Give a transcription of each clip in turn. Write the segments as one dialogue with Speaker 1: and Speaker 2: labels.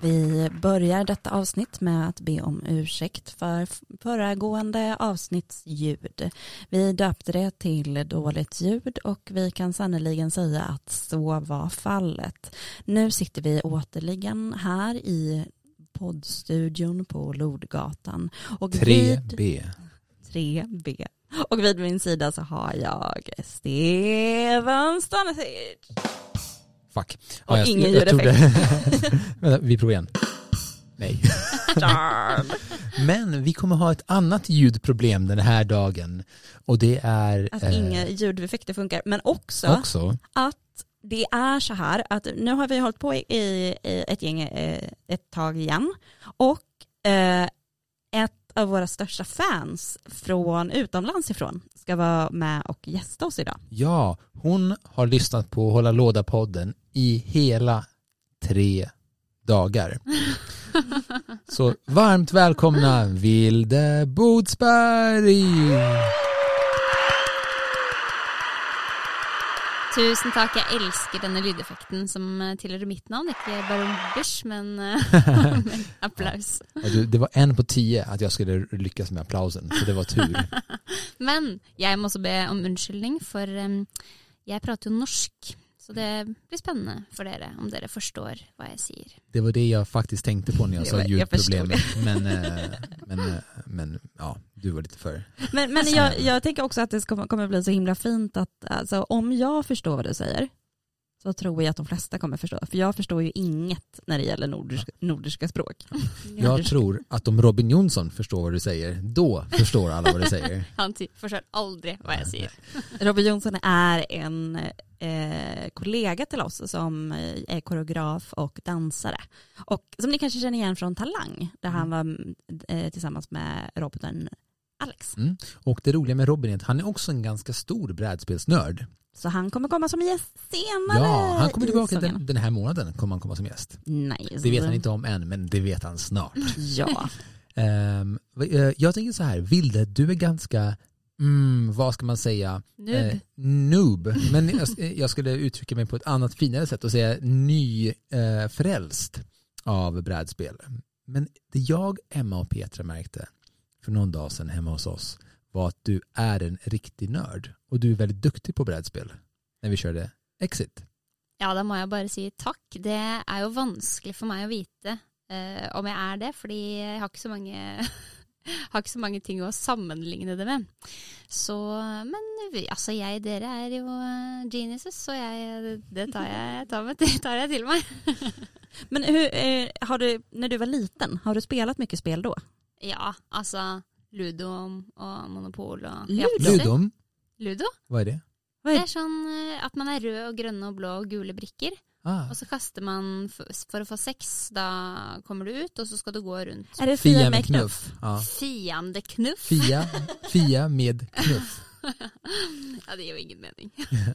Speaker 1: Vi börjar detta avsnitt med att be om ursäkt för föregående avsnitts ljud. Vi döpte det till dåligt ljud och vi kan sannerligen säga att så var fallet. Nu sitter vi återligen här i poddstudion på Lodgatan. Och
Speaker 2: 3B.
Speaker 1: Vid 3B. Och vid min sida så har jag Steven Stanisic.
Speaker 2: Fuck.
Speaker 1: Och
Speaker 2: jag-
Speaker 1: ingen
Speaker 2: jag trodde-
Speaker 1: ljudeffekt.
Speaker 2: Vänta, vi provar igen. Nej.
Speaker 1: Darn.
Speaker 2: Men vi kommer ha ett annat ljudproblem den här dagen. Och det är...
Speaker 1: Att
Speaker 2: eh,
Speaker 1: inga ljudeffekter funkar. Men också
Speaker 2: Också.
Speaker 1: att det är så här att nu har vi hållit på i, i ett gäng eh, ett tag igen och eh, ett av våra största fans från utomlands ifrån ska vara med och gästa oss idag.
Speaker 2: Ja, hon har lyssnat på Hålla Låda-podden i hela tre dagar. Så varmt välkomna Vilde Bodsberg!
Speaker 3: Tusen takk. Jeg elsker denne lydeffekten som eh, tilhører mitt navn. Ikke Baron Bish, men, eh, men applaus.
Speaker 2: Ja, du, det var en på tio att jag skulle lyckas med applausen, så det var tur.
Speaker 3: Men jeg må også be om unnskyldning, for em, jeg prater jo norsk. Så det blir spennende for dere om dere forstår hva jeg sier.
Speaker 2: Det var det jag faktiskt tänkte på när jag
Speaker 1: Jo,
Speaker 2: sa
Speaker 1: jag
Speaker 2: ljudproblem. Men, eh, men, eh, men ja, du var lite för.
Speaker 1: Men, men jag, jag tänker också att det ska, kommer bli så himla fint att alltså, om jag förstår vad du säger så tror jag att de flesta kommer förstå. För jag förstår ju inget när det gäller nordiska, nordiska språk.
Speaker 2: Jag tror att om Robin Jonsson förstår vad du säger, då förstår alla vad du säger.
Speaker 3: Han ty- forstår aldri hva jeg sier.
Speaker 1: Robin Jonsson är en eh, kollega till oss som eh, är koreograf och dansare. Och som ni kanske känner igen från Talang, där han var eh, tillsammans med roboten Alex.
Speaker 2: Mm. Och det roliga med Robin är att han är också en ganska stor brädspelsnörd.
Speaker 1: Så han kommer komma som gäst senare.
Speaker 2: Ja, han kommer
Speaker 1: i
Speaker 2: tillbaka den,
Speaker 1: säsongen.
Speaker 2: den här månaden kommer han komma som gäst.
Speaker 1: Nice.
Speaker 2: Det Mm. vet han inte om än, men det vet han snart.
Speaker 1: Ja,
Speaker 2: Ehm, eh, jag tänker så här, Vilde, du är ganska, mm, vad ska man säga,
Speaker 3: Noob.
Speaker 2: Eh, noob. Men jag, eh, jag skulle uttrycka mig på ett annat finare sätt och säga nyfrälst eh, frälst av brädspel. Men det jag, Emma och Petra märkte för någon dag sedan hemma hos oss var att du är en riktig nörd och du är väldigt duktig på brädspel när vi körde Exit.
Speaker 3: Ja, da må jeg bare si takk. Det er jo vanskelig for meg å vite eh, om jeg er det, fordi jeg har ikke så mange har ikke så mange ting å sammenligne det med. Så, men vi, altså jeg, dere er jo eh, geniuses, så jeg, det tar jeg, tar med, det tar jeg til meg.
Speaker 1: men hur, eh, har du, när du var liten, har du spelat mycket spel då?
Speaker 3: Ja, alltså Ludo og Monopol og
Speaker 1: Ludo?
Speaker 3: Yatzy.
Speaker 2: Ludom,
Speaker 3: Ludo?
Speaker 2: vad är det?
Speaker 1: Vad
Speaker 3: Det
Speaker 1: är,
Speaker 3: er sånn eh, at man er rød og grønne og blå og gule brikker.
Speaker 2: Ah,
Speaker 3: Og så kaster man for, for å få sex. Da kommer du ut, og så skal du gå rundt.
Speaker 1: är det
Speaker 2: Fia
Speaker 1: Fia
Speaker 2: med
Speaker 1: med
Speaker 2: knuff. Ja.
Speaker 3: Fiendeknuff.
Speaker 2: Fia, Fia med knuff.
Speaker 3: Ja, det gör ingen mening.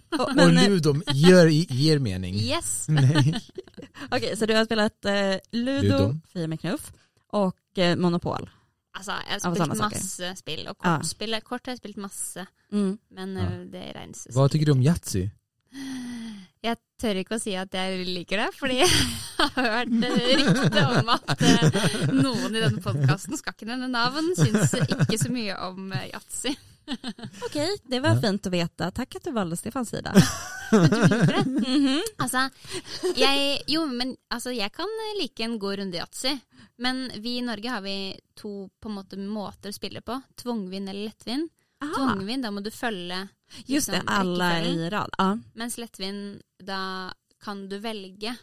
Speaker 1: Och-
Speaker 2: Och
Speaker 1: Men, eh,
Speaker 2: Ludom gör, ger mening.
Speaker 3: Yes.
Speaker 2: Nej.
Speaker 1: Okej, så du har spelat eh, Ludo,
Speaker 2: Ludo.
Speaker 1: Fia med knuff och eh, Monopol.
Speaker 3: Alltså, jag
Speaker 1: Ja,
Speaker 3: har
Speaker 1: vad
Speaker 3: spelat
Speaker 1: samma saker.
Speaker 3: massa spel och
Speaker 1: Ja.
Speaker 3: kortspel. Kort har jag spelat massa,
Speaker 1: Mm.
Speaker 3: men
Speaker 2: Ja.
Speaker 3: eh, det regnas
Speaker 2: Vad tycker du om Yatzy?
Speaker 3: Jag tør ikke å si at jeg liker det, fordi jeg har hørt eh, rykte om at eh, noen i denne podkasten, skal ikke nevne navn, syns ikke så mye om eh, yatzy.
Speaker 1: Okej, det var fint att veta. Tack att du valde Stefans sida. Mhm.
Speaker 3: Men du liker det? Altså, jeg Jo, men altså, jeg kan like en god runde yatzy. Men vi i Norge har vi to på en måte måter å spille på. Tvungvinn eller lettvinn.
Speaker 1: Aha,
Speaker 3: Tungvinn, da må du følge
Speaker 1: Ah. just det,
Speaker 3: liksom,
Speaker 1: alla
Speaker 3: rekkefølgen.
Speaker 1: i rad. Ja.
Speaker 3: Mens lettvinn, da kan du velge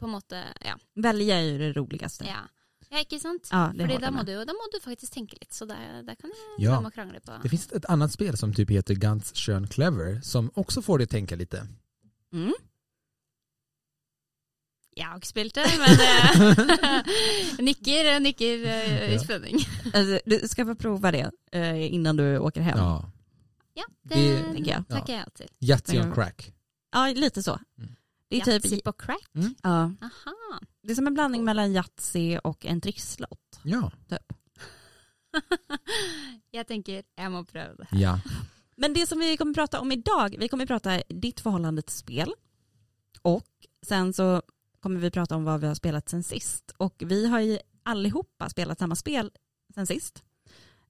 Speaker 3: på en måte Ja.
Speaker 1: Välja är ju det roligaste. Ja,
Speaker 3: ja. ja ikke sant?
Speaker 1: det
Speaker 3: Fordi
Speaker 1: håller
Speaker 3: da
Speaker 1: jag
Speaker 3: må,
Speaker 1: med.
Speaker 3: du, da må du faktisk tenke litt, så der, der kan jeg
Speaker 2: Ja.
Speaker 3: være med og krangle på.
Speaker 2: Det finns ett annat spel som typ heter Guns Schön Clever som också får dig att tänka lite.
Speaker 1: Mm.
Speaker 3: Jeg har ikke spilt det, men eh, nikker, nikker eh,
Speaker 2: Ja.
Speaker 3: i spenning.
Speaker 1: Alltså, du ska få prova det eh, innan du åker hem,
Speaker 2: Ja.
Speaker 3: Ja, det,
Speaker 2: Det-
Speaker 1: tänker jag.
Speaker 3: takker jeg ja til.
Speaker 2: Yatzy on
Speaker 1: Ja.
Speaker 2: crack.
Speaker 1: Ja, lite så.
Speaker 2: Mm.
Speaker 1: Det är
Speaker 3: Yatzy
Speaker 1: typ,
Speaker 3: på crack?
Speaker 1: ja,
Speaker 3: Aha.
Speaker 1: det är som en blandning mellan Yatzy og en trisslott.
Speaker 2: Ja.
Speaker 3: Jeg tenker jeg må prøve det.
Speaker 2: ja.
Speaker 1: Men det som vi kommer prata om idag, vi kommer prata ditt förhållande till spel och sen så kommer vi prata om vad vi har spelat sen sist. Och vi har ju allihopa spelat samma spel sen sist.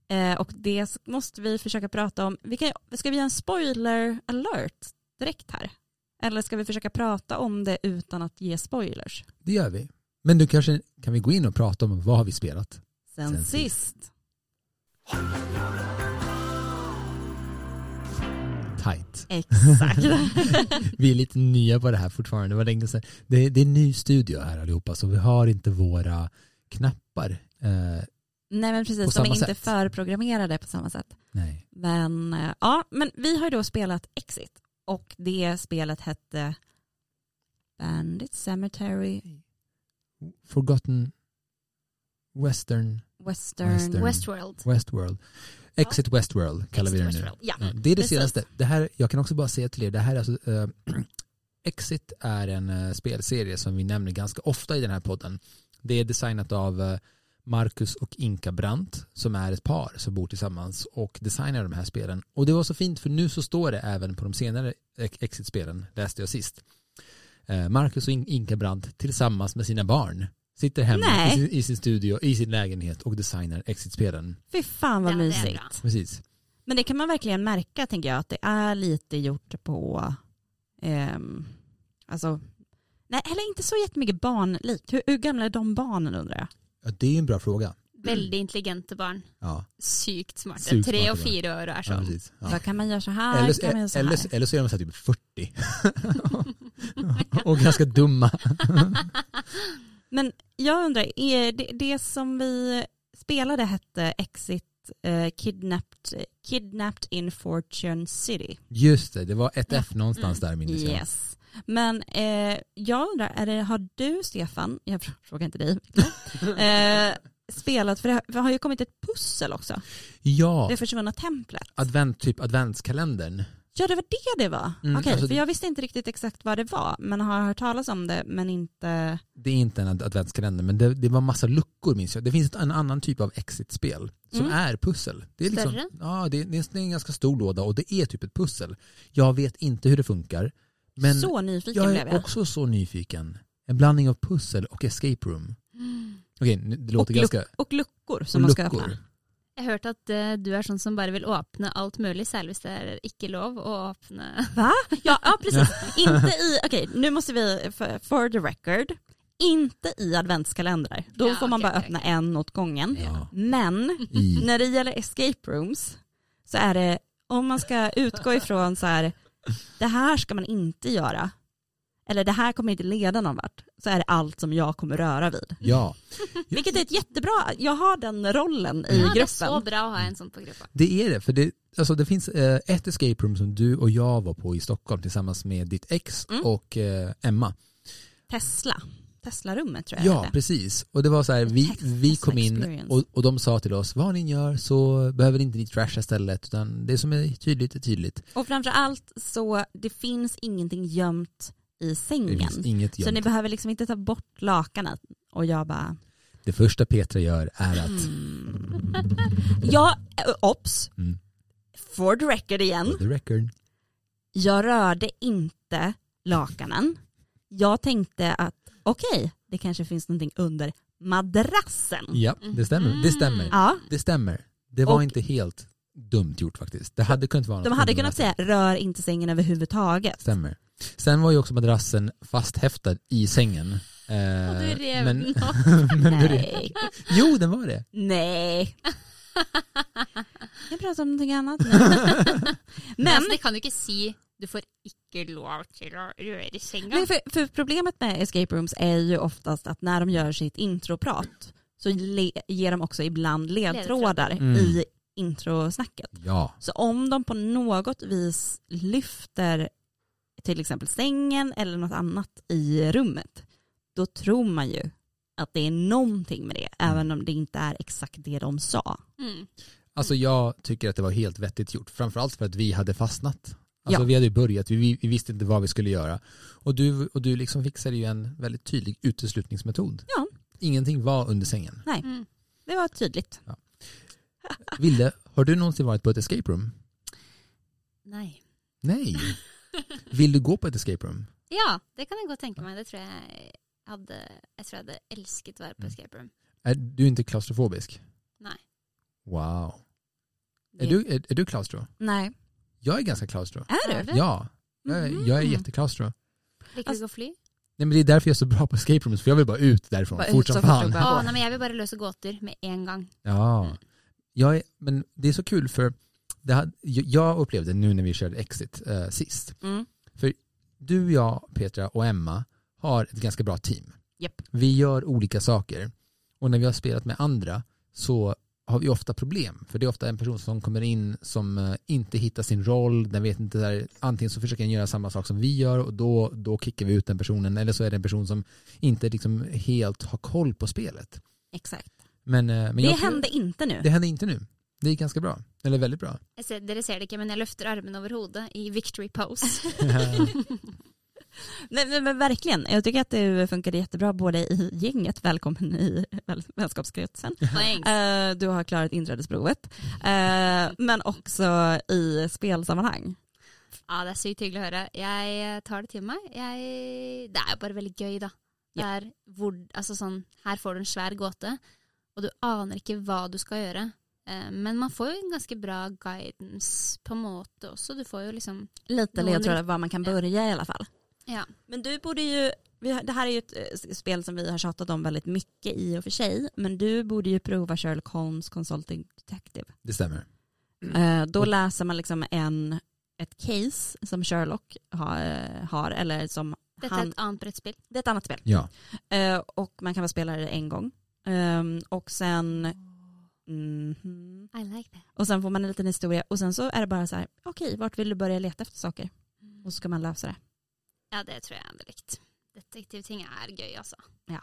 Speaker 1: Eh, och det måste vi försöka prata om. Vi kan, ska vi göra en spoiler alert direkt här? Eller ska vi försöka prata om det utan att ge spoilers?
Speaker 2: Det gör vi. Men du kanske kan vi gå in och prata om vad har vi spelat?
Speaker 1: Sen,
Speaker 2: Sen
Speaker 1: sist.
Speaker 2: Tight.
Speaker 1: Exakt.
Speaker 2: Vi är lite nya på det här fortfarande. Det, var länge sedan. det, det är en ny studio här allihopa så vi har inte våra knappar. Eh,
Speaker 1: Nej men
Speaker 2: På
Speaker 1: precis, de
Speaker 2: samma
Speaker 1: är inte
Speaker 2: sätt.
Speaker 1: förprogrammerade på samma sätt.
Speaker 2: nej.
Speaker 1: Men eh, ja, men vi har ju då spelat Exit och det spelet hette Bandit Cemetery
Speaker 2: Forgotten Western
Speaker 1: Western.
Speaker 2: Western.
Speaker 3: Westworld.
Speaker 2: Westworld. Exit Westworld kallar vi det
Speaker 3: Exit
Speaker 2: nu. Mm.
Speaker 3: Westworld, ja.
Speaker 2: Ja, det är det
Speaker 3: Precis.
Speaker 2: senaste. Det här, jag kan också bara säga till er, det här är alltså, eh, Exit är en eh, spelserie som vi nämner ganska ofta i den här podden. Det är designat av eh, Marcus och Inka Brandt som är ett par som bor tillsammans och designar de här spelen. Och det var så fint för nu så står det även på de senare Ex- Exit-spelen, läste jag sist. Eh, Marcus och In- Inka Brandt tillsammans med sina barn sitter hemma
Speaker 1: Nej.
Speaker 2: i sin, i sin studio, i sin lägenhet och designar Exit-spelen.
Speaker 1: Fy fan vad
Speaker 3: Ja, det är
Speaker 1: mysigt.
Speaker 3: bra.
Speaker 2: Precis.
Speaker 1: Men det kan man verkligen märka tänker jag att det är lite gjort på, ehm, alltså, nej eller inte så jättemycket barnlikt. Hur, hur gamla är de barnen undrar jag?
Speaker 2: Ja, det är en bra fråga.
Speaker 3: Väldigt intelligenta barn.
Speaker 2: Ja,
Speaker 3: Sykt smarta.
Speaker 2: Sykt smarta
Speaker 3: Tre och
Speaker 2: barn.
Speaker 3: fyra år är
Speaker 2: ja
Speaker 3: sånn.
Speaker 2: precis. Ja.
Speaker 1: Då kan man göra så här,
Speaker 2: Eller,
Speaker 1: Ah, kan man göra så här.
Speaker 2: eller, eller så är de så här typ 40. och ganska dumma.
Speaker 1: Men jag undrar, är det, det som vi spelade hette Exit eh, kidnapped, kidnapped in Fortune City.
Speaker 2: Just det, det var ett
Speaker 3: Ja.
Speaker 2: F någonstans där minns jag.
Speaker 1: Yes. Men eh, jag undrar, är det, har du Stefan, jag fr- frågar inte dig, eh, spelat, för det har, för det har ju kommit ett pussel också,
Speaker 2: Ja,
Speaker 1: det försvunna templet.
Speaker 2: advent, typ adventskalendern.
Speaker 1: Ja det var det det var.
Speaker 2: Mm,
Speaker 1: Okej,
Speaker 2: alltså-
Speaker 1: för jag visste inte riktigt exakt vad det var, men har hört talas om det, men inte,
Speaker 2: Det är inte en ad- adventskalender men det, det var massa luckor minns jag. Det finns ett- en annan typ av exit-spel som
Speaker 1: Mm.
Speaker 2: är pussel. Det är liksom,
Speaker 3: Större?
Speaker 2: ja, det, är- det är en ganska stor låda och det är typ ett pussel. Jag vet inte hur det funkar. Men
Speaker 1: så nyfiken
Speaker 2: jag
Speaker 1: blev jag.
Speaker 2: är också så nyfiken. En blandning av pussel och escape room.
Speaker 3: Mm.
Speaker 2: Okej, nu- det låter
Speaker 1: och, luck-
Speaker 2: ganska...
Speaker 1: och luckor som man ska öppna.
Speaker 3: Jag har hørt at eh, du er sånn som bare vil åpne alt mulig, særlig hvis det er ikke lov å åpne
Speaker 1: Ja, ja precis. inte i, okej nu måste vi, för, for the record, inte i adventskalendrar. Då
Speaker 3: Ja,
Speaker 1: får man
Speaker 3: okej,
Speaker 1: bara
Speaker 3: okej,
Speaker 1: öppna en åt gången.
Speaker 2: Ja.
Speaker 1: Men
Speaker 2: I,
Speaker 1: när det gäller escape rooms så är det, om man ska utgå ifrån så här, det här ska man inte göra, eller det här kommer inte leda någon vart, så är det allt som jeg kommer röra vid.
Speaker 2: ja.
Speaker 1: Vilket är ett jättebra, jag har den rollen i
Speaker 3: Ja, det er så
Speaker 1: gruppen.
Speaker 3: bra å ha en sånn på gruppa.
Speaker 2: Det är det, för det, alltså det finns eh, ett escape room som du och jag var på i Stockholm tillsammans med ditt ex
Speaker 1: Mm.
Speaker 2: och eh, Emma.
Speaker 1: Tesla, Tesla-rummet tror jag det
Speaker 2: Ja,
Speaker 1: heter.
Speaker 2: precis. Och det var så här, vi,
Speaker 1: Text-
Speaker 2: vi
Speaker 1: text
Speaker 2: kom in
Speaker 1: experience.
Speaker 2: och, och de sa till oss, vad ni gör så behöver inte ni trasha stället, utan det som är tydligt är tydligt.
Speaker 1: Och framför allt så det finns ingenting gömt i
Speaker 2: Det
Speaker 1: sängen.
Speaker 2: finns inget
Speaker 1: Mm. Så ni
Speaker 2: gömt.
Speaker 1: behöver liksom inte ta bort lakanet. Och jag bara...
Speaker 2: Det första Petra gör är att,
Speaker 1: Mm. Jag, ö, ops,
Speaker 2: Mm.
Speaker 1: for the record igen.
Speaker 2: for the
Speaker 1: Mm.
Speaker 2: record,
Speaker 1: Jag rörde inte lakanen. Jag tänkte att okej, det kanske finns någonting under madrassen.
Speaker 2: ja, det stämmer.
Speaker 1: Mm.
Speaker 2: Det stämmer.
Speaker 1: Ja,
Speaker 2: Det stämmer. Det var
Speaker 1: Och-
Speaker 2: inte helt dumt gjort faktiskt. Det hade kunnat vara något
Speaker 1: de hade
Speaker 2: under
Speaker 1: kunnat
Speaker 2: madrassen.
Speaker 1: säga rör inte sängen överhuvudtaget.
Speaker 2: Stämmer. Sen var ju också madrassen fasthäftad i sängen. Eh,
Speaker 3: Og du rev
Speaker 2: men,
Speaker 3: den opp.
Speaker 2: men du rev.
Speaker 1: Nej.
Speaker 2: Jo, den var det.
Speaker 1: Nej. Jag pratar om någonting annat.
Speaker 3: Men
Speaker 1: Men
Speaker 3: altså, det kan du ikke si du får ikke lov til å røre senga.
Speaker 1: Nej, för, för problemet med escape rooms är ju oftast att när de gör sitt introprat så le, ger de också ibland ledtrådar
Speaker 2: Mm.
Speaker 1: i introsnacket.
Speaker 2: Ja.
Speaker 1: Så om de på något vis lyfter till exempel sängen eller något annat i rummet, då tror man ju att det är någonting med det, även
Speaker 2: Mm.
Speaker 1: om det inte är exakt det de sa.
Speaker 3: Mm.
Speaker 2: Alltså jag tycker att det var helt vettigt gjort. Framförallt för att vi hade fastnat. Alltså
Speaker 1: Ja.
Speaker 2: vi hade ju börjat, vi, vi visste inte vad vi skulle göra. Och du, och du liksom fixade ju en väldigt tydlig uteslutningsmetod.
Speaker 1: Ja.
Speaker 2: Ingenting var under sängen.
Speaker 3: Mm.
Speaker 1: Det var tydligt.
Speaker 2: Ville, har du någonsin varit på ett escape room?
Speaker 3: Nei.
Speaker 2: Nej. Vill du gå på ett escape room?
Speaker 3: Ja, det kan jeg godt tenke meg. Det tror jeg Jeg, hadde, jeg tror jeg hadde elsket å være på
Speaker 2: Mm.
Speaker 3: escape room.
Speaker 2: Är du inte klaustrofobisk?
Speaker 3: Nej.
Speaker 2: Wow. Är
Speaker 3: Det-
Speaker 2: du, är, är du klaustro?
Speaker 1: Nej.
Speaker 2: Jag är ganska klaustro.
Speaker 1: Är
Speaker 3: Är
Speaker 1: du?
Speaker 3: du?
Speaker 2: Ja, jag är, jag är
Speaker 1: Mhm.
Speaker 2: jätteklaustro.
Speaker 3: Liker du ikke å fly?
Speaker 2: Nej, men det är därför jag är så bra på escape rooms, för jag vill bara ut därifrån
Speaker 1: Bara ut
Speaker 2: fort
Speaker 1: så
Speaker 2: som
Speaker 1: fort som
Speaker 2: fan.
Speaker 1: bara-
Speaker 3: Å,
Speaker 1: går.
Speaker 3: nei, men jeg vil bare løse gåter med en gang.
Speaker 2: Ja. Jag är, men det är så kul för det hade, jag upplevde nu när vi körde Exit eh, sist,
Speaker 1: Mm.
Speaker 2: du, jag, Petra och Emma har ett ganska bra team.
Speaker 1: Japp.
Speaker 2: Vi gör olika saker och när vi har spelat med andra så har vi ofta problem. För det är ofta en person som kommer in som eh, inte hittar sin roll, den vet inte där, antingen så försöker den göra samma sak som vi gör och då, då kickar vi ut den personen eller så är det en person som inte liksom helt har koll på spelet.
Speaker 1: Exakt.
Speaker 2: Men, eh, men
Speaker 1: Det
Speaker 2: jag-
Speaker 1: hände inte nu.
Speaker 2: det hände inte nu. Det gick ganska bra, eller väldigt bra.
Speaker 3: Jeg ser, dere ser det ikke, men jeg løfter armene over hodet i victory pose.
Speaker 1: Nej, men, men verkligen. Jag tycker att du funkade jättebra både i gänget, välkommen i väl- vänskapskretsen.
Speaker 3: Thanks.
Speaker 1: Eh, du har klarat inträdesprovet. Eh, men också i spelsammanhang.
Speaker 3: Ja, det er sykt hyggelig å høre. Jeg eh, tar det til meg. Jeg, det er jo bare veldig gøy, da. Det er hvor, altså sånn, her får du en svær gåte, og du aner ikke hva du skal gjøre. Eh, Men man får jo en ganske bra guidance på en måte också. Du får jo liksom
Speaker 1: Lite
Speaker 3: Någon
Speaker 1: ledtrådar var man kan börja i alla fall.
Speaker 3: Ja.
Speaker 1: Men du borde ju, vi har- det här är ju ett eh, s- spel som vi har tjatat om väldigt mycket i och för sig, men du borde ju prova Sherlock Holmes Consulting Detective.
Speaker 2: Det stämmer.
Speaker 1: Eh, Då läser man liksom en, ett case som Sherlock har, har eller som
Speaker 3: Dette er
Speaker 1: han,
Speaker 3: et annet brettspill.
Speaker 1: det är ett annat spel.
Speaker 2: Ja.
Speaker 1: Eh, Och man kan vara spelare en gång. Ehm, Och sen, mhm.
Speaker 3: I like that.
Speaker 1: och sen får man en liten historia och sen så är det bara så här, okej, vart vill du börja leta efter saker? Och så ska man lösa det.
Speaker 3: Ja, det tror jeg jeg hadde likt. Detektivting er gøy, altså.
Speaker 1: Ja.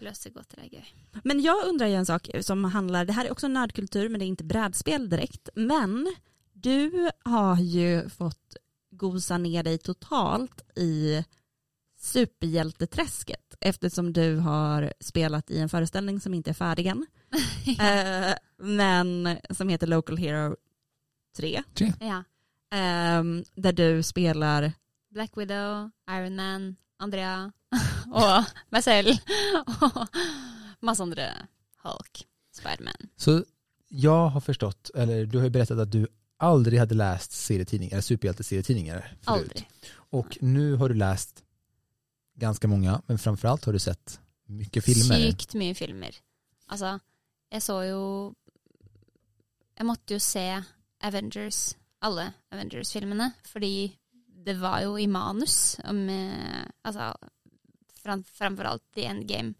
Speaker 3: Løse gåter er gøy.
Speaker 1: Men jag undrar ju en sak som handlar, det här är också nördkultur men det är inte brädspel direkt. Men du har ju fått gosa ner dig totalt i superhjälteträsket eftersom du har spelat i en föreställning som inte är färdig än. eh, men som heter Local Hero 3.
Speaker 3: Ja.
Speaker 1: ehm, där du spelar
Speaker 3: Black Widow, Iron Man, Andrea og meg selv. Og masse andre Hulk, Spiderman.
Speaker 2: Så jag har förstått, eller du har ju berättat att du aldrig hade läst serietidningar, eller superhjälteserietidningar förut.
Speaker 3: Aldri.
Speaker 2: Och nu har du läst ganska många, men framförallt har du sett mycket filmer.
Speaker 3: Sykt mye filmer. Alltså, Altså, jeg så jo Jeg måtte jo se Avengers, alle Avengers-filmene, fordi det var jo i manus. Om, eh, altså fram, framfor alt The Endgame.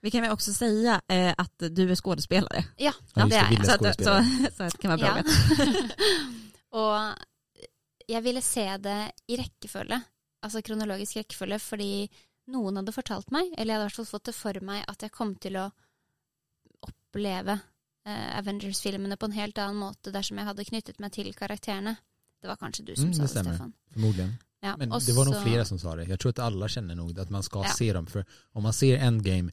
Speaker 1: vi kan väl också säga eh, att du är skådespelare.
Speaker 3: Ja,
Speaker 2: Ja, just det,
Speaker 3: det er jeg.
Speaker 2: Vilja
Speaker 1: Så att, så,
Speaker 2: skådespelare.
Speaker 1: så att det kan vara bra att veta.
Speaker 3: og jeg ville se det i rekkefølge, altså kronologisk rekkefølge, fordi noen hadde fortalt meg, eller jeg hadde i hvert fall fått det for meg, at jeg kom til å oppleve eh, Avengers-filmene på en helt annen måte dersom jeg hadde knyttet meg til karakterene. Det var kanskje du som
Speaker 2: Mm,
Speaker 3: sa
Speaker 2: det
Speaker 3: det,
Speaker 2: stemmer.
Speaker 3: Stefan.
Speaker 2: Förmodligen.
Speaker 3: Ja,
Speaker 2: Men
Speaker 3: og
Speaker 2: det var nog
Speaker 3: så-
Speaker 2: flera som sa det. Jag tror att alla känner nog att man ska
Speaker 3: Ja.
Speaker 2: se dem. För om man ser Endgame,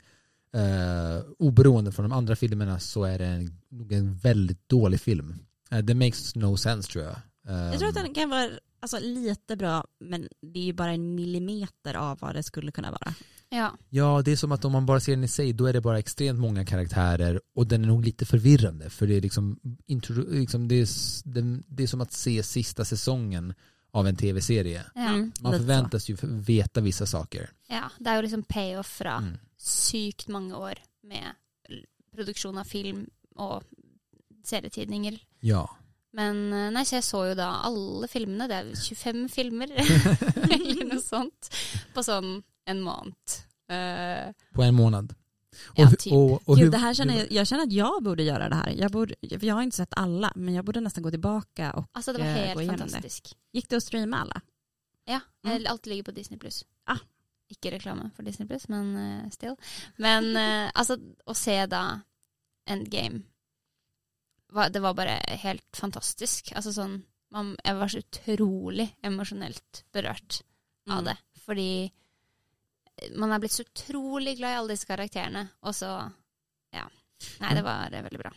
Speaker 2: eh, oberoende från de andra filmerna, så är det en, nog en väldigt dålig film. Eh, det makes no sense tror jag.
Speaker 1: Jag tror att
Speaker 2: Ehm,
Speaker 1: den kan vara alltså, lite bra, men det är ju bara en millimeter av vad det skulle kunna vara.
Speaker 3: Ja,
Speaker 2: Ja, det är som att om man bara ser den i sig, då är det bara extremt många karaktärer och den är nog lite förvirrande för det är liksom, intro, liksom det, är, s- den- det är som att se sista säsongen av en tv-serie.
Speaker 3: ja,
Speaker 2: Man
Speaker 1: lite så.
Speaker 2: förväntas ju f- veta vissa saker.
Speaker 3: ja. Det er jo liksom payoff fra
Speaker 2: Mm.
Speaker 3: sykt mange år med l- produksjon av film og serietidninger.
Speaker 2: Ja.
Speaker 3: Men eh, nei, så jeg så jo da alle filmene, det er jo 25 filmer eller noe sånt, på sånn en måned. Eh,
Speaker 2: På en månad.
Speaker 3: Ja,
Speaker 2: hu-
Speaker 3: typ.
Speaker 2: och
Speaker 1: Gud,
Speaker 2: hur-
Speaker 1: det här känner
Speaker 2: hur-
Speaker 1: jag, jag känner att jag borde göra det här. Jag, borde, för jag har inte sett alla, men jag borde nästan gå tillbaka. Och,
Speaker 3: altså det var
Speaker 1: Eh, gå
Speaker 3: helt
Speaker 1: gjennom det.
Speaker 3: fantastisk.
Speaker 1: gick det att streama alla?
Speaker 3: Ja,
Speaker 1: Mm.
Speaker 3: eh, alt ligger på Disney pluss.
Speaker 1: Ah.
Speaker 3: Ikke reklame for Disney pluss, men eh, still. Men eh, altså, å se da Endgame var, Det var bare helt fantastisk. Altså sånn man, Jeg var så utrolig emosjonelt berørt av det. Fordi eh, man er blitt så utrolig glad i alle disse karakterene, og så Ja. Nei, det var eh, veldig bra.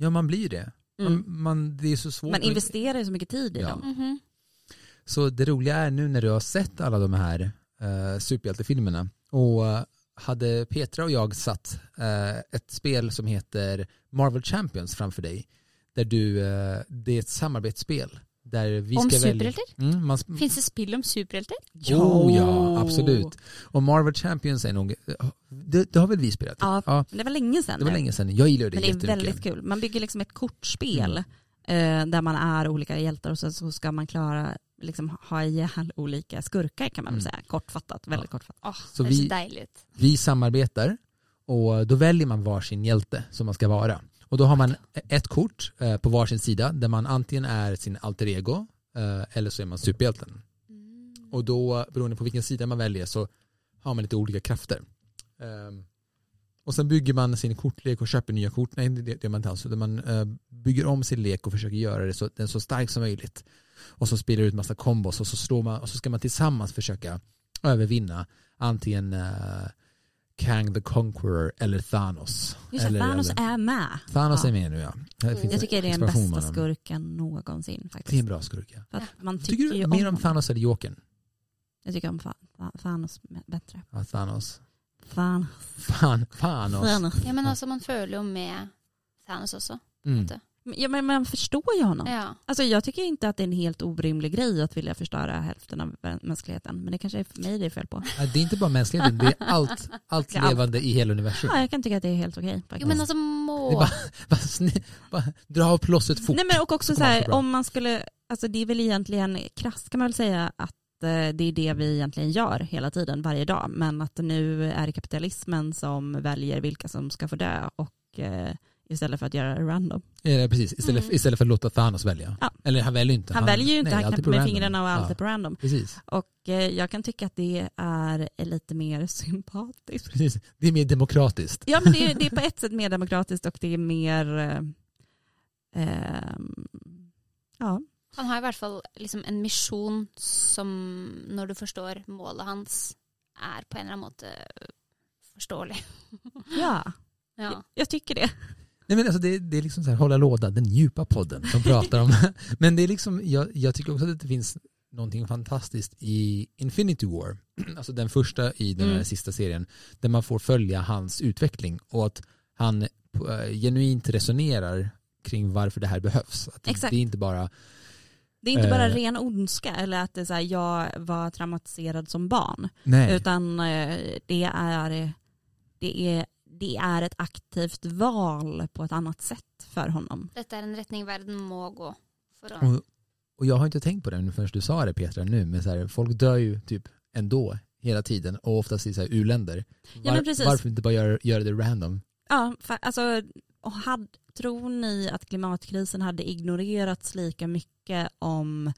Speaker 2: Ja, man blir ju det. Man, man, det är så svårt.
Speaker 1: Mm. Man
Speaker 2: att-
Speaker 1: investerar ju så mycket tid i
Speaker 2: Ja.
Speaker 1: dem.
Speaker 3: Mhm.
Speaker 2: Så det roliga är nu när du har sett alla de här eh, superhjältefilmerna och eh, hade Petra och jag satt eh, ett spel som heter Marvel Champions framför dig. Där du, eh, det är ett samarbetsspel. Där vi
Speaker 3: Om
Speaker 2: ska välja...
Speaker 3: superhjältar?
Speaker 2: Mm, man, sp-
Speaker 3: Finns det spill om superhjältar?
Speaker 2: Jo, ja, absolut. Och Marvel Champions är nog, eh, det, det har väl vi spelat?
Speaker 1: Ja, Det var länge sedan.
Speaker 2: det var
Speaker 1: nu.
Speaker 2: länge sedan. Jag gillar det
Speaker 1: Men det är
Speaker 2: jättemycket.
Speaker 1: väldigt kul. Man bygger liksom ett kortspel eh, där man är olika hjältar och sen så ska man klara, liksom ha ihjäl olika skurkar kan man väl
Speaker 2: Mm.
Speaker 1: säga. Kortfattat, väldigt kortfattat.
Speaker 3: Åh,
Speaker 2: Så
Speaker 3: det är
Speaker 2: vi-
Speaker 3: så dejligt.
Speaker 2: Vi samarbetar och då väljer man varsin hjälte som man ska vara. Och då har man ett kort eh, på varsin sida där man antingen är sin alter ego eh, eller så är man superhjälten. Och då, beroende på vilken sida man väljer, så har man lite olika krafter. Ehm, och sen bygger man sin kortlek och köper nya kort. Nej, det, det man inte alls. Utan Man eh, bygger om sin lek och försöker göra det så, den så stark som möjligt. Och så spelar ut massa kombos och så, slår man, och så ska man tillsammans försöka övervinna antingen eh, Kang the Conqueror eller Thanos.
Speaker 1: Just det,
Speaker 2: eller,
Speaker 1: Thanos
Speaker 2: eller,
Speaker 1: är med.
Speaker 2: Thanos
Speaker 1: ja.
Speaker 2: är med nu ja. Här
Speaker 3: Mm.
Speaker 2: finns
Speaker 1: Jag
Speaker 2: det
Speaker 1: tycker det är den
Speaker 2: expansion
Speaker 1: bästa
Speaker 2: med honom.
Speaker 1: skurken någonsin
Speaker 2: Det är en
Speaker 1: faktiskt.
Speaker 2: bra skurk ja.
Speaker 1: För att man
Speaker 2: Tycker,
Speaker 1: tycker ju
Speaker 2: du
Speaker 1: om,
Speaker 2: mer om
Speaker 1: honom.
Speaker 2: Thanos eller Jokern?
Speaker 1: Jag tycker om Fa- Fa- Thanos bättre.
Speaker 2: Ja, Thanos.
Speaker 1: Fan.
Speaker 2: Fan, Thanos.
Speaker 1: Thanos.
Speaker 3: Ja men alltså man följer ju med Thanos också.
Speaker 2: Mm.
Speaker 1: Ja, men man förstår ju honom.
Speaker 3: Ja.
Speaker 1: Alltså jag tycker inte att det är en helt orimlig grej att vilja förstöra hälften av mänskligheten. Men det kanske är för mig det är fel på.
Speaker 2: Ja, Det är inte bara mänskligheten, det är allt, allt
Speaker 1: Det är allt.
Speaker 2: levande i hela universum.
Speaker 1: Ja, jag kan tycka att det är helt okej.
Speaker 3: Jo
Speaker 1: faktiskt.
Speaker 3: men alltså
Speaker 2: Det är
Speaker 3: må...
Speaker 2: bara, bara, sni- bara dra av plåstret fort.
Speaker 1: Nej men och också
Speaker 2: Det
Speaker 1: så
Speaker 2: kommer alltid
Speaker 1: här,
Speaker 2: bra.
Speaker 1: om man skulle, alltså det är väl egentligen krasst kan man väl säga att eh, det är det vi egentligen gör hela tiden, varje dag. Men att nu är det kapitalismen som väljer vilka som ska få dö och eh, istället för att göra det random.
Speaker 2: Eh, precis, istället,
Speaker 3: Mm.
Speaker 2: istället för att låta Thanos välja.
Speaker 1: Ja.
Speaker 2: Eller han väljer ju inte.
Speaker 1: Han väljer ju inte,
Speaker 2: nej,
Speaker 1: han
Speaker 2: alltid
Speaker 1: knäpper med
Speaker 2: random.
Speaker 1: fingrarna och allt är
Speaker 2: Ja,
Speaker 1: på random.
Speaker 2: precis,
Speaker 1: Och eh, jag kan tycka att det är lite mer sympatiskt.
Speaker 2: precis. Det är mer demokratiskt.
Speaker 1: Ja men det är, det är på ett sätt mer demokratiskt och det är mer, eh, ehm, ja.
Speaker 3: Han har i hvert fall liksom en misjon som, når du forstår målet hans, er på en eller annen måte forståelig.
Speaker 1: ja.
Speaker 3: Ja.
Speaker 1: Jag tycker det.
Speaker 2: Nej, men alltså det, det är liksom så här, hålla låda, den djupa podden som pratar om. men det är liksom, jag, jag tycker också att det finns någonting fantastiskt i Infinity War, alltså den första i den här
Speaker 1: Mm.
Speaker 2: sista serien, där man får följa hans utveckling och att han eh, genuint resonerar kring varför det här behövs. Att
Speaker 1: Exakt.
Speaker 2: Det är inte bara,
Speaker 1: Det är inte bara
Speaker 2: Eh.
Speaker 1: ren ondska eller att det är så här, jag var traumatiserad som barn.
Speaker 2: nej,
Speaker 1: Utan eh, det är, det, är, det är ett aktivt val på ett annat sätt för honom.
Speaker 3: Dette er en retning verden må gå. For å...
Speaker 2: Och, och jag har inte tänkt på det förrän du sa det Petra nu, men så här, folk dör ju typ ändå hela tiden och oftast i så här u-länder.
Speaker 1: men precis.
Speaker 2: varför inte bara göra, göra det random?
Speaker 1: Ja, fa- alltså, och had, tror ni att klimatkrisen hade ignorerats lika mycket om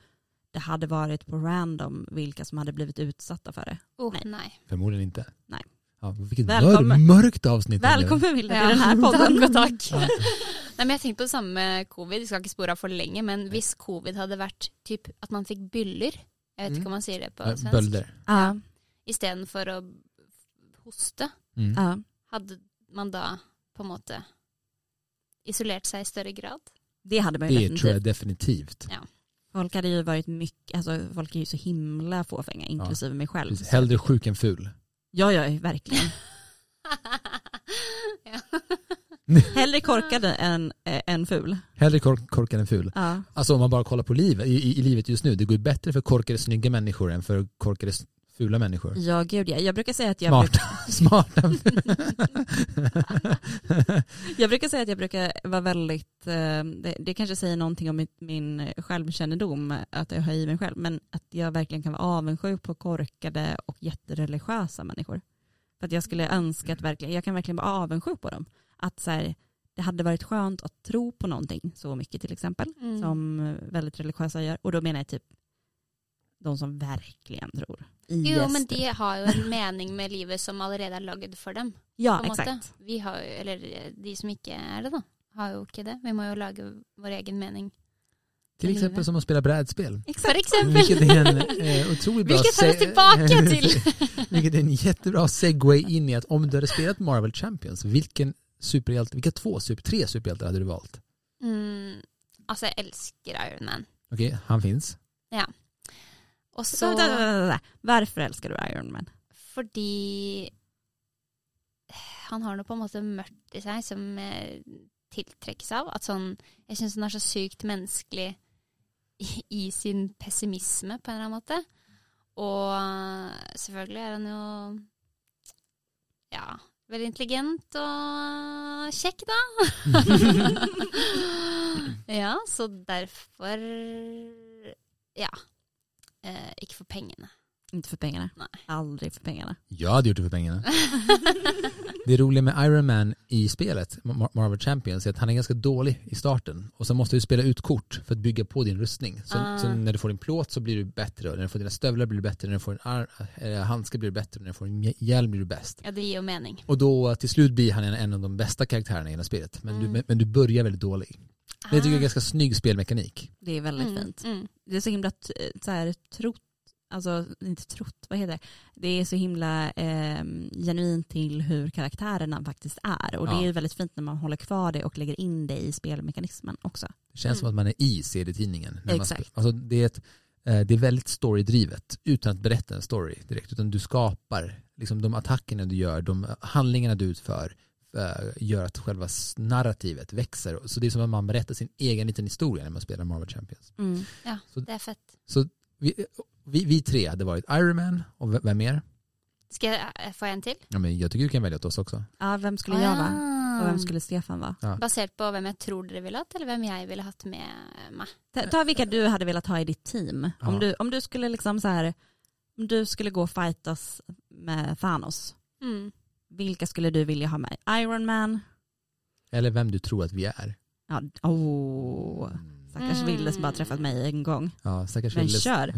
Speaker 1: det hade varit på random vilka som hade blivit utsatta för det?
Speaker 3: Å,
Speaker 1: Nei.
Speaker 3: nei.
Speaker 2: Förmodligen inte.
Speaker 1: Nej.
Speaker 2: Ja, vilket mör,
Speaker 1: Välkommen.
Speaker 2: mörkt avsnitt. det blev.
Speaker 1: Välkommen Vilda
Speaker 3: Ja,
Speaker 1: till den här
Speaker 3: takk
Speaker 1: podden.
Speaker 3: og takk. Nei, men jeg tenkte på det samme med covid, vi skal ikke spore av for lenge, men hvis covid hadde vært typ at man fikk byller, jeg vet
Speaker 2: Mm.
Speaker 3: ikke om man sier det på
Speaker 2: Ja,
Speaker 3: svensk,
Speaker 2: Bölder.
Speaker 1: Ja,
Speaker 3: istedenfor å hoste,
Speaker 2: Mm.
Speaker 1: ja.
Speaker 3: hadde man da på en måte isolert seg i større grad?
Speaker 1: Det hade man ju
Speaker 2: Det tror
Speaker 1: definitivt.
Speaker 2: jag definitivt.
Speaker 1: Folk hade ju varit mycket, alltså folk är ju så himla fåfänga, inklusive mig själv.
Speaker 2: Precis. Hellre sjuk än ful.
Speaker 1: Ja, ja, verkligen.
Speaker 3: ja.
Speaker 1: Hellre korkad än, eh, än ful.
Speaker 2: Hellre kork, korkad än ful.
Speaker 1: Ja.
Speaker 2: Alltså om man bara kollar på livet, i, i, i livet just nu, det går ju bättre för korkade snygga människor än för korkade s- fula människor.
Speaker 1: ja, gud ja. Jag brukar säga att Mm, jag, bruk,
Speaker 2: Smarta. Smarta.
Speaker 1: jag brukar säga att jag brukar vara väldigt, eh, det, det kanske säger någonting om mitt, min självkännedom, att jag har i mig själv, men att jag verkligen kan vara avundsjuk på korkade och jättereligiösa människor. För att jag skulle önska att verkligen, jag kan verkligen vara avundsjuk på dem. Att så här, det hade varit skönt att tro på någonting så mycket till exempel.
Speaker 3: Mm.
Speaker 1: som väldigt religiösa gör. Och då menar jag typ de som verkligen tror.
Speaker 3: Jo,
Speaker 1: IS.
Speaker 3: men de har jo en mening med livet som allerede er lagd for dem.
Speaker 1: ja,
Speaker 3: på en måte.
Speaker 1: exakt.
Speaker 3: Vi har jo, eller eh, de som ikke er det, da, har jo ikke det. Vi må jo lage vår egen mening.
Speaker 2: Till exempel som att spela brädspel.
Speaker 3: For
Speaker 2: Vilket
Speaker 3: eksempel!
Speaker 2: är en eh, otroligt bra...
Speaker 3: Vilket tar oss
Speaker 2: se-
Speaker 3: tillbaka till...
Speaker 2: Vilket är en jättebra segway in i att om du hade spelat Marvel Champions, vilken superhjälte, vilka två, super, tre superhjältar hade du valt?
Speaker 3: Mm, altså, jeg elsker Iron Man.
Speaker 2: Okej, han finns.
Speaker 3: Og
Speaker 1: Så,
Speaker 3: så
Speaker 1: vänta, vänta, vänta. Varför älskar du Iron Man?
Speaker 3: fordi han har noe på en måte mørkt i seg som eh, tiltrekkes av. At sånn, jeg syns han er så sykt menneskelig i, i sin pessimisme, på en eller annen måte. Og eh, selvfølgelig er han jo ja, veldig intelligent og kjekk, da. ja, så derfor ja. Eh, ikke for pengene.
Speaker 1: Inte för pengarna.
Speaker 3: Nej.
Speaker 1: Aldrig för pengarna.
Speaker 2: Jag hade gjort det för pengarna. Det roliga med Iron Man i spelet, Mar- Marvel Champions, är att han är ganska dålig i starten. Och sen måste du spela ut kort för att bygga på din rustning. Så,
Speaker 3: Ah.
Speaker 2: så när du får din plåt så blir du bättre, och när du får dina stövlar blir du bättre, när du får en ar- eh, handske blir du bättre, och när du får en hj- hjälm blir du bäst.
Speaker 3: Ja, det gir jo mening.
Speaker 2: Och då till slut blir han en, en av de bästa karaktärerna i hela spelet. Men,
Speaker 3: Mm.
Speaker 2: du, men, men du börjar väldigt dålig. Men jag tycker det är
Speaker 3: Ah.
Speaker 2: en ganska snygg spelmekanik.
Speaker 1: Det är väldigt
Speaker 3: Mm,
Speaker 1: fint.
Speaker 3: Mm.
Speaker 1: Det är så himla t- så här, trott, alltså inte trott, vad heter det? Det är så himla eh, genuint till hur karaktärerna faktiskt är. Och
Speaker 2: Ja.
Speaker 1: det är ju väldigt fint när man håller kvar det och lägger in det i spelmekanismen också.
Speaker 2: Det känns som
Speaker 3: Mm.
Speaker 2: att man är i serietidningen. när man
Speaker 1: Exakt.
Speaker 2: spe- Alltså det, är ett, eh, det är väldigt storydrivet utan att berätta en story direkt. Utan du skapar, liksom de attackerna du gör, de handlingarna du utför eh, gör att själva s- narrativet växer. Så det är som att man berättar sin egen liten historia när man spelar Marvel Champions.
Speaker 3: Mm. Det er fett.
Speaker 2: Vi, vi, vi tre hade varit Iron Man och v- vem mer?
Speaker 3: Skal jeg eh, få en til?
Speaker 2: Ja, men jag tycker du kan välja åt oss også.
Speaker 1: Ja, vem skulle
Speaker 3: Ah.
Speaker 1: jag vara? Och vem skulle Stefan vara?
Speaker 3: Basert på hvem jeg tror dere ville hatt, eller hvem jeg ville hatt med meg.
Speaker 1: Ta, ta vilka du hade velat ha i ditt team.
Speaker 2: Ja.
Speaker 1: Om, du, om du skulle liksom så här, om du skulle gå och fightas med Thanos,
Speaker 3: Mm.
Speaker 1: vilka skulle du vilja ha med? Iron Man?
Speaker 2: Eller vem du tror att vi är.
Speaker 1: Ja, oh, stackars
Speaker 3: Mm.
Speaker 1: Ville som bara träffat mig en gång
Speaker 2: Ja, stackars
Speaker 1: Men
Speaker 2: Willis.
Speaker 1: kör.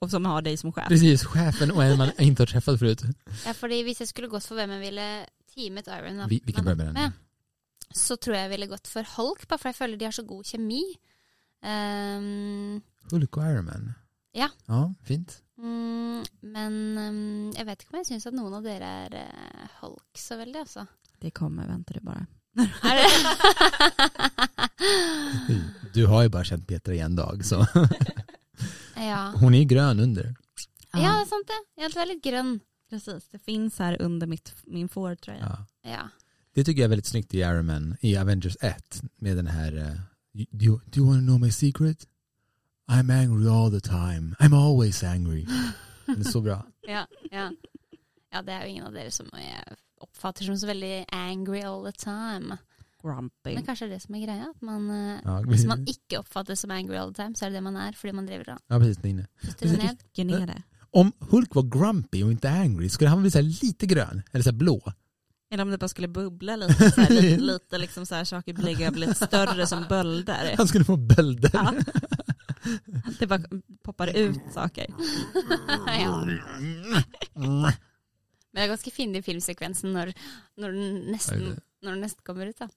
Speaker 1: och som har dig som chef.
Speaker 2: Precis, chefen och en man inte har träffat förut.
Speaker 3: Ja, fordi hvis jeg skulle gått for hvem jeg ville teamet Iron
Speaker 2: Vi, vi kan börja med den.
Speaker 3: med, så tror jeg jeg ville gått for Hulk, bare for jeg føler de har så god kjemi. Ehm,
Speaker 2: Hulk och Iron Man.
Speaker 3: Ja.
Speaker 2: Ja, fint.
Speaker 3: mm, men ehm, jeg vet ikke om jeg syns at noen av dere er eh, Hulk så alltså. veldig, altså.
Speaker 1: Det kommer, vänta du bara.
Speaker 3: Er det?
Speaker 2: Du har ju bara känt Petra i en dag så
Speaker 3: ja.
Speaker 2: hon är ju grön under.
Speaker 3: ja, det er sant det. Ja, du er litt grønn.
Speaker 1: precis. Det finns här under mitt, min Ford-tröja.
Speaker 2: Ja.
Speaker 3: Ja.
Speaker 2: Det tycker jag är väldigt snyggt i Iron Man, i Avengers 1 med den här eh, Do you, do you want to know my secret? I'm angry all the time. I'm always angry. Den är så bra.
Speaker 3: Ja, ja. ja, det er jo ingen av dere som jeg oppfatter som så veldig angry all the time.
Speaker 1: Grumpy.
Speaker 3: Men kanskje det er det som er greia? At man, eh,
Speaker 2: Ja,
Speaker 3: hvis
Speaker 2: precis.
Speaker 3: man ikke oppfattes som angry all the time, så er det det man er fordi man driver og
Speaker 2: Ja, precis, Nina.
Speaker 3: putter det ned.
Speaker 1: Ge ner det.
Speaker 2: Om Hulk var grumpy och inte angry skulle han bli så här lite grön eller så här blå.
Speaker 1: Eller om det bara skulle bubbla lite, så här, lite, lite liksom så här, saker blir blir lite större som bölder.
Speaker 2: Han skulle få bölder.
Speaker 1: Ja. Det bara poppar ut saker.
Speaker 3: ja. Men det er ganske fin i filmsekvensen når, når, den nesten,
Speaker 2: Er det?
Speaker 3: når den nesten kommer ut. da.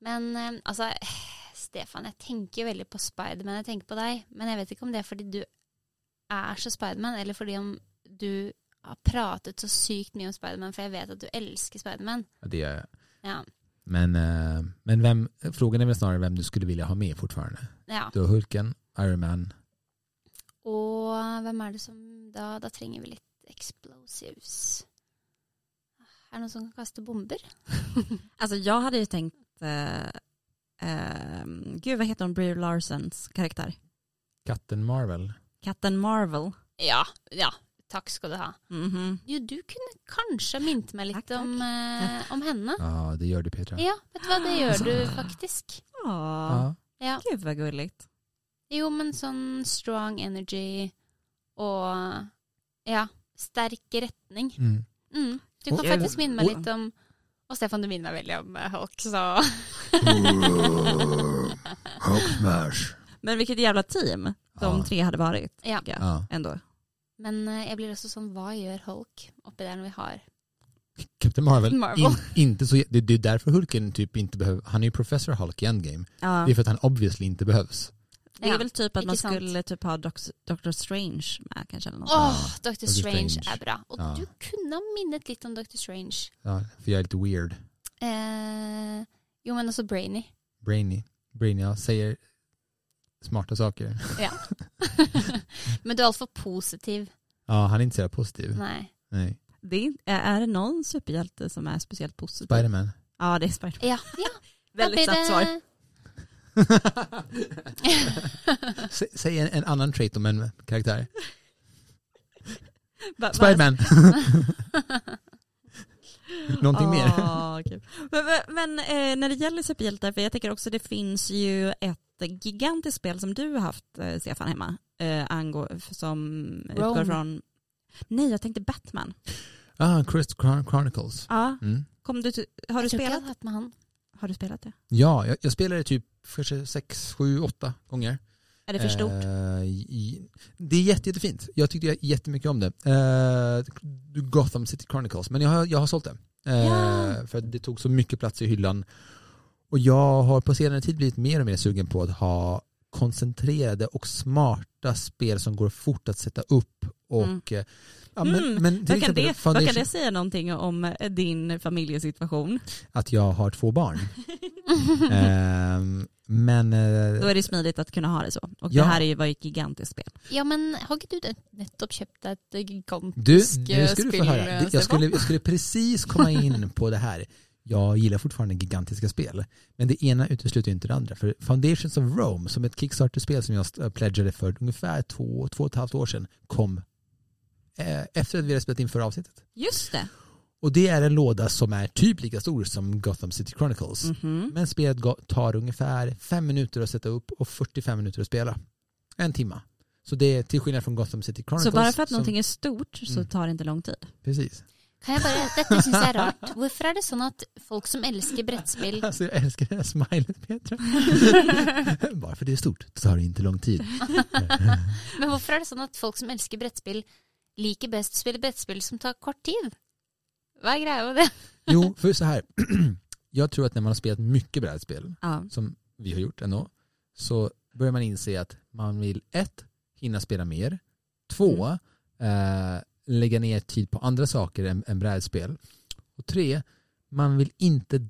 Speaker 3: Men eh, altså, eh, Stefan, jeg tenker jo veldig på Spiderman. Jeg tenker på deg. Men jeg vet ikke om det er fordi du er så Spiderman, eller fordi om du har pratet så sykt mye om Spiderman, for jeg vet at du elsker Spiderman.
Speaker 2: Ja, Det är
Speaker 3: Ja.
Speaker 2: Men, eh, men vem, frågan är väl snarare vem du skulle vilja ha med fortfarande.
Speaker 3: ja.
Speaker 2: Du har Hulken, Iron Man.
Speaker 3: Og hvem er det som Da, da trenger vi litt explosives. Er det noen som kan kaste bomber?
Speaker 1: Alltså jag hade ju tänkt, eh, eh, gud vad heter hon, Brie Larsons karaktär?
Speaker 2: Katten Marvel.
Speaker 1: Katten Marvel.
Speaker 3: Ja. ja. Takk skal du ha.
Speaker 1: Mhm.
Speaker 3: Jo, du kunne kanskje minnet meg litt
Speaker 1: Takk, takk.
Speaker 3: Om, eh, om henne.
Speaker 2: Ja, det gör du Petra.
Speaker 3: Ja, vet du hva, det
Speaker 2: Alltså.
Speaker 3: gjør du faktisk.
Speaker 1: Ja,
Speaker 2: Ja.
Speaker 3: Ja.
Speaker 1: gud vad gulligt.
Speaker 3: Jo, men sånn strong energy og ja, sterk retning.
Speaker 2: Mm.
Speaker 3: Mm. Du
Speaker 2: Og-
Speaker 3: kan faktisk minne meg
Speaker 2: og-
Speaker 3: litt om Og Stefan, du minner meg veldig om eh, Hulk, så
Speaker 2: Hulk smash.
Speaker 1: Men vilket jävla team de
Speaker 2: Ja.
Speaker 1: tre hade varit
Speaker 3: Ja.
Speaker 1: tycker jag,
Speaker 2: Ja.
Speaker 1: ändå.
Speaker 3: Men eh, jeg blir også sånn, hva gjør Hulk oppi der når vi har
Speaker 2: Captain Marvel.
Speaker 3: Marvel.
Speaker 2: In, inte så, det, det är därför Hulken typ inte behöver, han är ju Professor Hulk i Endgame.
Speaker 1: Ja.
Speaker 2: Det är för att han obviously inte behövs.
Speaker 1: Det är
Speaker 3: Ja,
Speaker 1: väl typ att
Speaker 3: icke
Speaker 1: man
Speaker 3: sant.
Speaker 1: skulle typ ha Doc- Doctor Strange med kanske. Eller något.
Speaker 3: Åh,
Speaker 2: Ja,
Speaker 3: Dr.
Speaker 2: Strange.
Speaker 3: Strange er bra. Og
Speaker 2: Ja.
Speaker 3: du kunne ha minnet litt om Dr. Strange.
Speaker 2: Ja, för jag är lite weird.
Speaker 3: Eh, jo, men også Brainy.
Speaker 2: Brainy. Brainy, ja, säger smarta saker.
Speaker 3: men du er altfor positiv.
Speaker 2: Ja, han är inte så jävla positiv.
Speaker 3: Nei.
Speaker 2: Nej.
Speaker 1: Det är, inte- är det någon superhjälte som är speciellt positiv?
Speaker 2: Spiderman.
Speaker 1: Ja, det är Spiderman.
Speaker 3: Ja, ja.
Speaker 1: Väldigt snabbt svar.
Speaker 2: Sä- Säg en, en annan trait om en karaktär.
Speaker 1: Va- va-
Speaker 2: Spiderman. Någonting mer?
Speaker 1: Ah, kul. Men, men, men eh, när det gäller superhjältar, för jag tänker också det finns ju ett gigantiskt spel som du har haft eh, Stefan hemma, eh, angå, som utgår
Speaker 3: Rome.
Speaker 1: från, nej jag tänkte Batman.
Speaker 2: Ah, Crest Chron- Chronicles.
Speaker 1: Ja,
Speaker 2: Mm.
Speaker 1: kom du, till- har, du
Speaker 3: Jag tror
Speaker 1: spelat,
Speaker 3: inte jag har haft med han.
Speaker 1: har du spelat det?
Speaker 2: Ja, jag, jag spelade typ kanske sex, sju, åtta gånger.
Speaker 1: Är det för stort?
Speaker 2: Eh, i- det är jätte, jättefint. Jag tyckte jag- jättemycket om det. Eh, Gotham City Chronicles, men jag har, jag har sålt det. Eh,
Speaker 1: Ja.
Speaker 2: För att det tog så mycket plats i hyllan. Och jag har på senare tid blivit mer och mer sugen på att ha koncentrerade och smarta spel som går fort att sätta upp. Och,
Speaker 1: Mm.
Speaker 2: eh, ja, men,
Speaker 1: Mm,
Speaker 2: men till
Speaker 1: Vad kan,
Speaker 2: exempel
Speaker 1: det, vad kan
Speaker 2: Foundation,
Speaker 1: det säga någonting om eh, din familjesituation?
Speaker 2: att jag har två barn. Ehm, men eh,
Speaker 1: Då är det smidigt att kunna ha det så. Och
Speaker 2: Ja.
Speaker 1: det här är ju, var ju ett gigantiskt spel.
Speaker 3: Ja, men har inte du det- nettopp köpt ett eh, gigantiskt
Speaker 2: Du, nu ska du få
Speaker 3: spill-
Speaker 2: höra. Det- Jag
Speaker 3: Stefan?
Speaker 2: skulle, jag skulle precis komma in på det här. Jag gillar fortfarande gigantiska spel, men det ena utesluter ju inte det andra. För Foundations of Rome, som ett Kickstarter-spel som jag st- äh, pledgade för ungefär två, två och ett halvt år sedan, kom eh, efter att vi hade spelat in förra avsnittet.
Speaker 1: Just det.
Speaker 2: Och det är en låda som är typ lika stor som Gotham City Chronicles.
Speaker 1: Mhm.
Speaker 2: Men spelet ga- tar ungefär fem minuter att sätta upp och 45 minuter att spela. En timma. Så det är till skillnad från Gotham City Chronicles.
Speaker 1: Så bara för att
Speaker 2: som-
Speaker 1: någonting är stort så
Speaker 2: Mm.
Speaker 1: tar det inte lång tid.
Speaker 2: Precis.
Speaker 3: Kan jag bara, dette syns jeg er rart. Hvorfor er det sånn at folk som elsker brettspill
Speaker 2: Alltså jag älskar det här smilet Petra. Bara för det är stort så tar det inte lång tid.
Speaker 3: Men hvorfor er det sånn at folk som elsker brettspill, liker best å spille brettspill som tar kort tid? Hva er greia med det?
Speaker 2: Jo, för så här. Jag tror att när man har spelat mycket brädspel,
Speaker 1: Ja.
Speaker 2: som vi har gjort ändå, så börjar man inse att man vill ett, hinna spela mer, två,
Speaker 3: Mm.
Speaker 2: eh, lägga ner tid på andra saker än, än brädspel och tre, man vill inte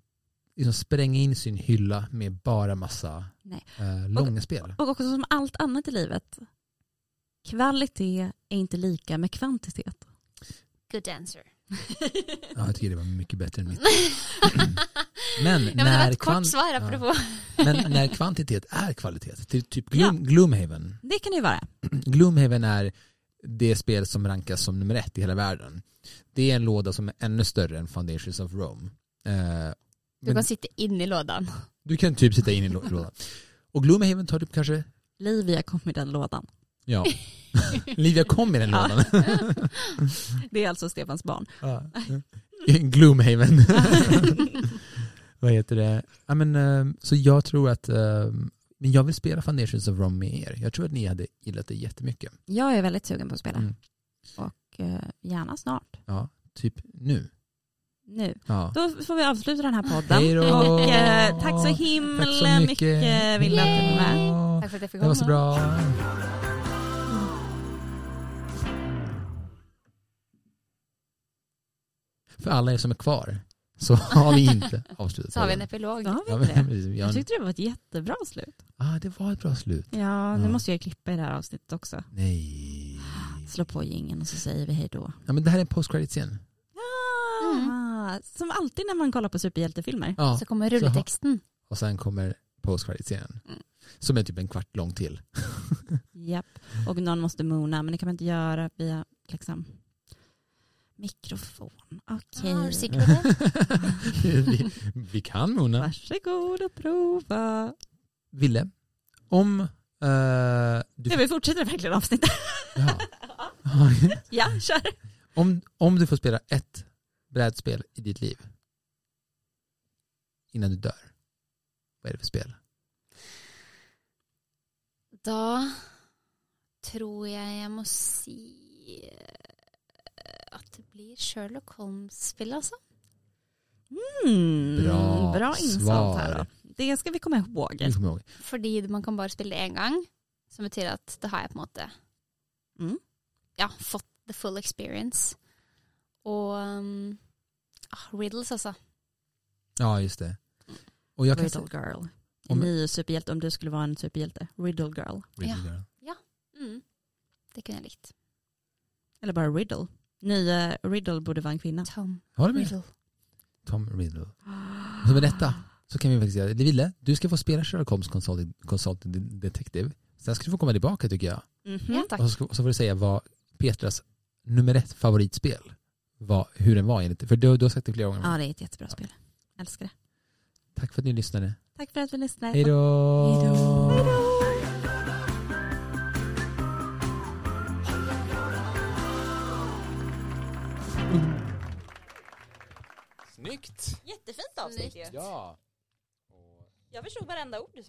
Speaker 2: liksom spränga in sin hylla med bara massa
Speaker 1: Nej.
Speaker 2: eh, långa spel.
Speaker 1: Och också som allt annat i livet, kvalitet är inte lika med kvantitet.
Speaker 3: Good answer.
Speaker 2: Ja, jag tycker det var mycket bättre än mitt. Men
Speaker 3: Ja, men det var
Speaker 2: när
Speaker 3: et kort
Speaker 2: kvan-
Speaker 3: svar,
Speaker 2: ja.
Speaker 3: apropos.
Speaker 2: Men när kvantitet är kvalitet, ty- typ Gloom, Gloomhaven.
Speaker 1: Det kan det ju vara.
Speaker 2: Gloomhaven är det spel som rankas som nummer ett i hela världen. Det är en låda som är ännu större än Foundations of Rome. Eh,
Speaker 3: Du
Speaker 2: men
Speaker 3: kan sitte inni lådan.
Speaker 2: du kan typ sitta in i lå- lådan. Och Gloomhaven tar typ kanske,
Speaker 1: Livia kom i den lådan.
Speaker 2: ja, Livia kom i den
Speaker 1: Ja.
Speaker 2: lådan.
Speaker 1: Det är alltså Stefans barn.
Speaker 2: Ja. Gloomhaven. Vad heter det? Ja, men, eh, så jag tror att, eh, men jag vill spela Foundations of Rome med er. Jag tror att ni hade gillat det jättemycket.
Speaker 1: Jag är väldigt sugen på att spela
Speaker 2: Mm.
Speaker 1: och eh, gärna snart.
Speaker 2: Ja, typ nu.
Speaker 1: Nu.
Speaker 2: Ja.
Speaker 1: Då får vi avsluta den här podden.
Speaker 2: Hej då!
Speaker 1: Och eh, tack så
Speaker 2: Tack
Speaker 1: himla
Speaker 2: så mycket.
Speaker 1: mycket Villa att du var med.
Speaker 2: Ja,
Speaker 3: Takk for at jeg fikk
Speaker 2: Det var så bra. För alla er som är kvar så har vi inte avslutat.
Speaker 3: Så har vi en
Speaker 2: podden.
Speaker 3: epilog.
Speaker 1: Då har
Speaker 2: Ja,
Speaker 1: vi
Speaker 2: men,
Speaker 1: det.
Speaker 2: precis, vi har
Speaker 1: Jag
Speaker 2: en,
Speaker 1: tyckte det var ett jättebra slut.
Speaker 2: ah, det var ett bra slut.
Speaker 1: Ja, nu
Speaker 2: Ja.
Speaker 1: måste jag klippa i det här avsnittet också.
Speaker 2: Nej.
Speaker 1: Slå på gingen och så säger vi hej då.
Speaker 2: Ja, men det här är en post-credit-scen.
Speaker 1: Ah, Som alltid när man kollar på superhjältefilmer.
Speaker 2: Ja.
Speaker 3: Så kommer rulleteksten.
Speaker 2: Och sen kommer post-credit-scenen.
Speaker 3: Mm.
Speaker 2: Som är typ en kvart lång till.
Speaker 1: Japp, och någon måste mona, men det kan man inte göra via liksom, mikrofon. Okej,
Speaker 3: Ja, är du sikker på det?
Speaker 2: vi, vi kan Mona.
Speaker 1: varsågod och prova.
Speaker 2: Ville, om eh, du...
Speaker 1: Ja, vi fortsätter verkligen avsnittet.
Speaker 2: Ja.
Speaker 1: ja, kör.
Speaker 2: om, om du får spela ett brädspel i ditt liv innan du dör, vad är det för spel?
Speaker 3: Da tror jeg jeg må si eh, at det blir Sherlock Holmes-spill, altså.
Speaker 1: Mm,
Speaker 2: Bra
Speaker 1: insats
Speaker 2: svar. Mm.
Speaker 1: här då. Det ska vi komma ihåg.
Speaker 2: Du kommer ihåg.
Speaker 3: Fordi man kan bare spille det én gang, som betyr at det har jeg på en måte
Speaker 1: Mm.
Speaker 3: ja, fått the full experience. Og um, ah, riddles, altså.
Speaker 2: Ja, just det. Och jag kan
Speaker 1: Riddle girl. En
Speaker 2: Om-
Speaker 1: ny superhjälte om du skulle vara en superhjälte. Riddle girl.
Speaker 2: Riddle Girl.
Speaker 3: Mm. Det kunne jeg likt.
Speaker 1: Eller bara riddle. Nye Riddle borde vara en kvinna.
Speaker 3: Tom
Speaker 2: Håller med.
Speaker 3: Riddle.
Speaker 2: Tom Riddle. Så med detta så kan vi faktiskt göra det. Ville, du ska få spela Sherlock Holmes Consulting, Consulting Detective. Sen ska du få komma tillbaka tycker jag.
Speaker 1: Mhm.
Speaker 3: Ja, tack.
Speaker 2: Och så, ska, och så får du säga vad Petras nummer ett favoritspel var, hur den var enligt För du, du har sagt det flera gånger.
Speaker 1: Ja, det är ett jättebra spel. Älskar det.
Speaker 2: Tack för att ni lyssnade.
Speaker 1: Tack för att vi lyssnade.
Speaker 2: Hej då!
Speaker 1: Hej då.
Speaker 2: Snyggt!
Speaker 1: Jättefint
Speaker 3: avsnitt ju.
Speaker 2: Ja.
Speaker 1: Jag förstod varenda ord.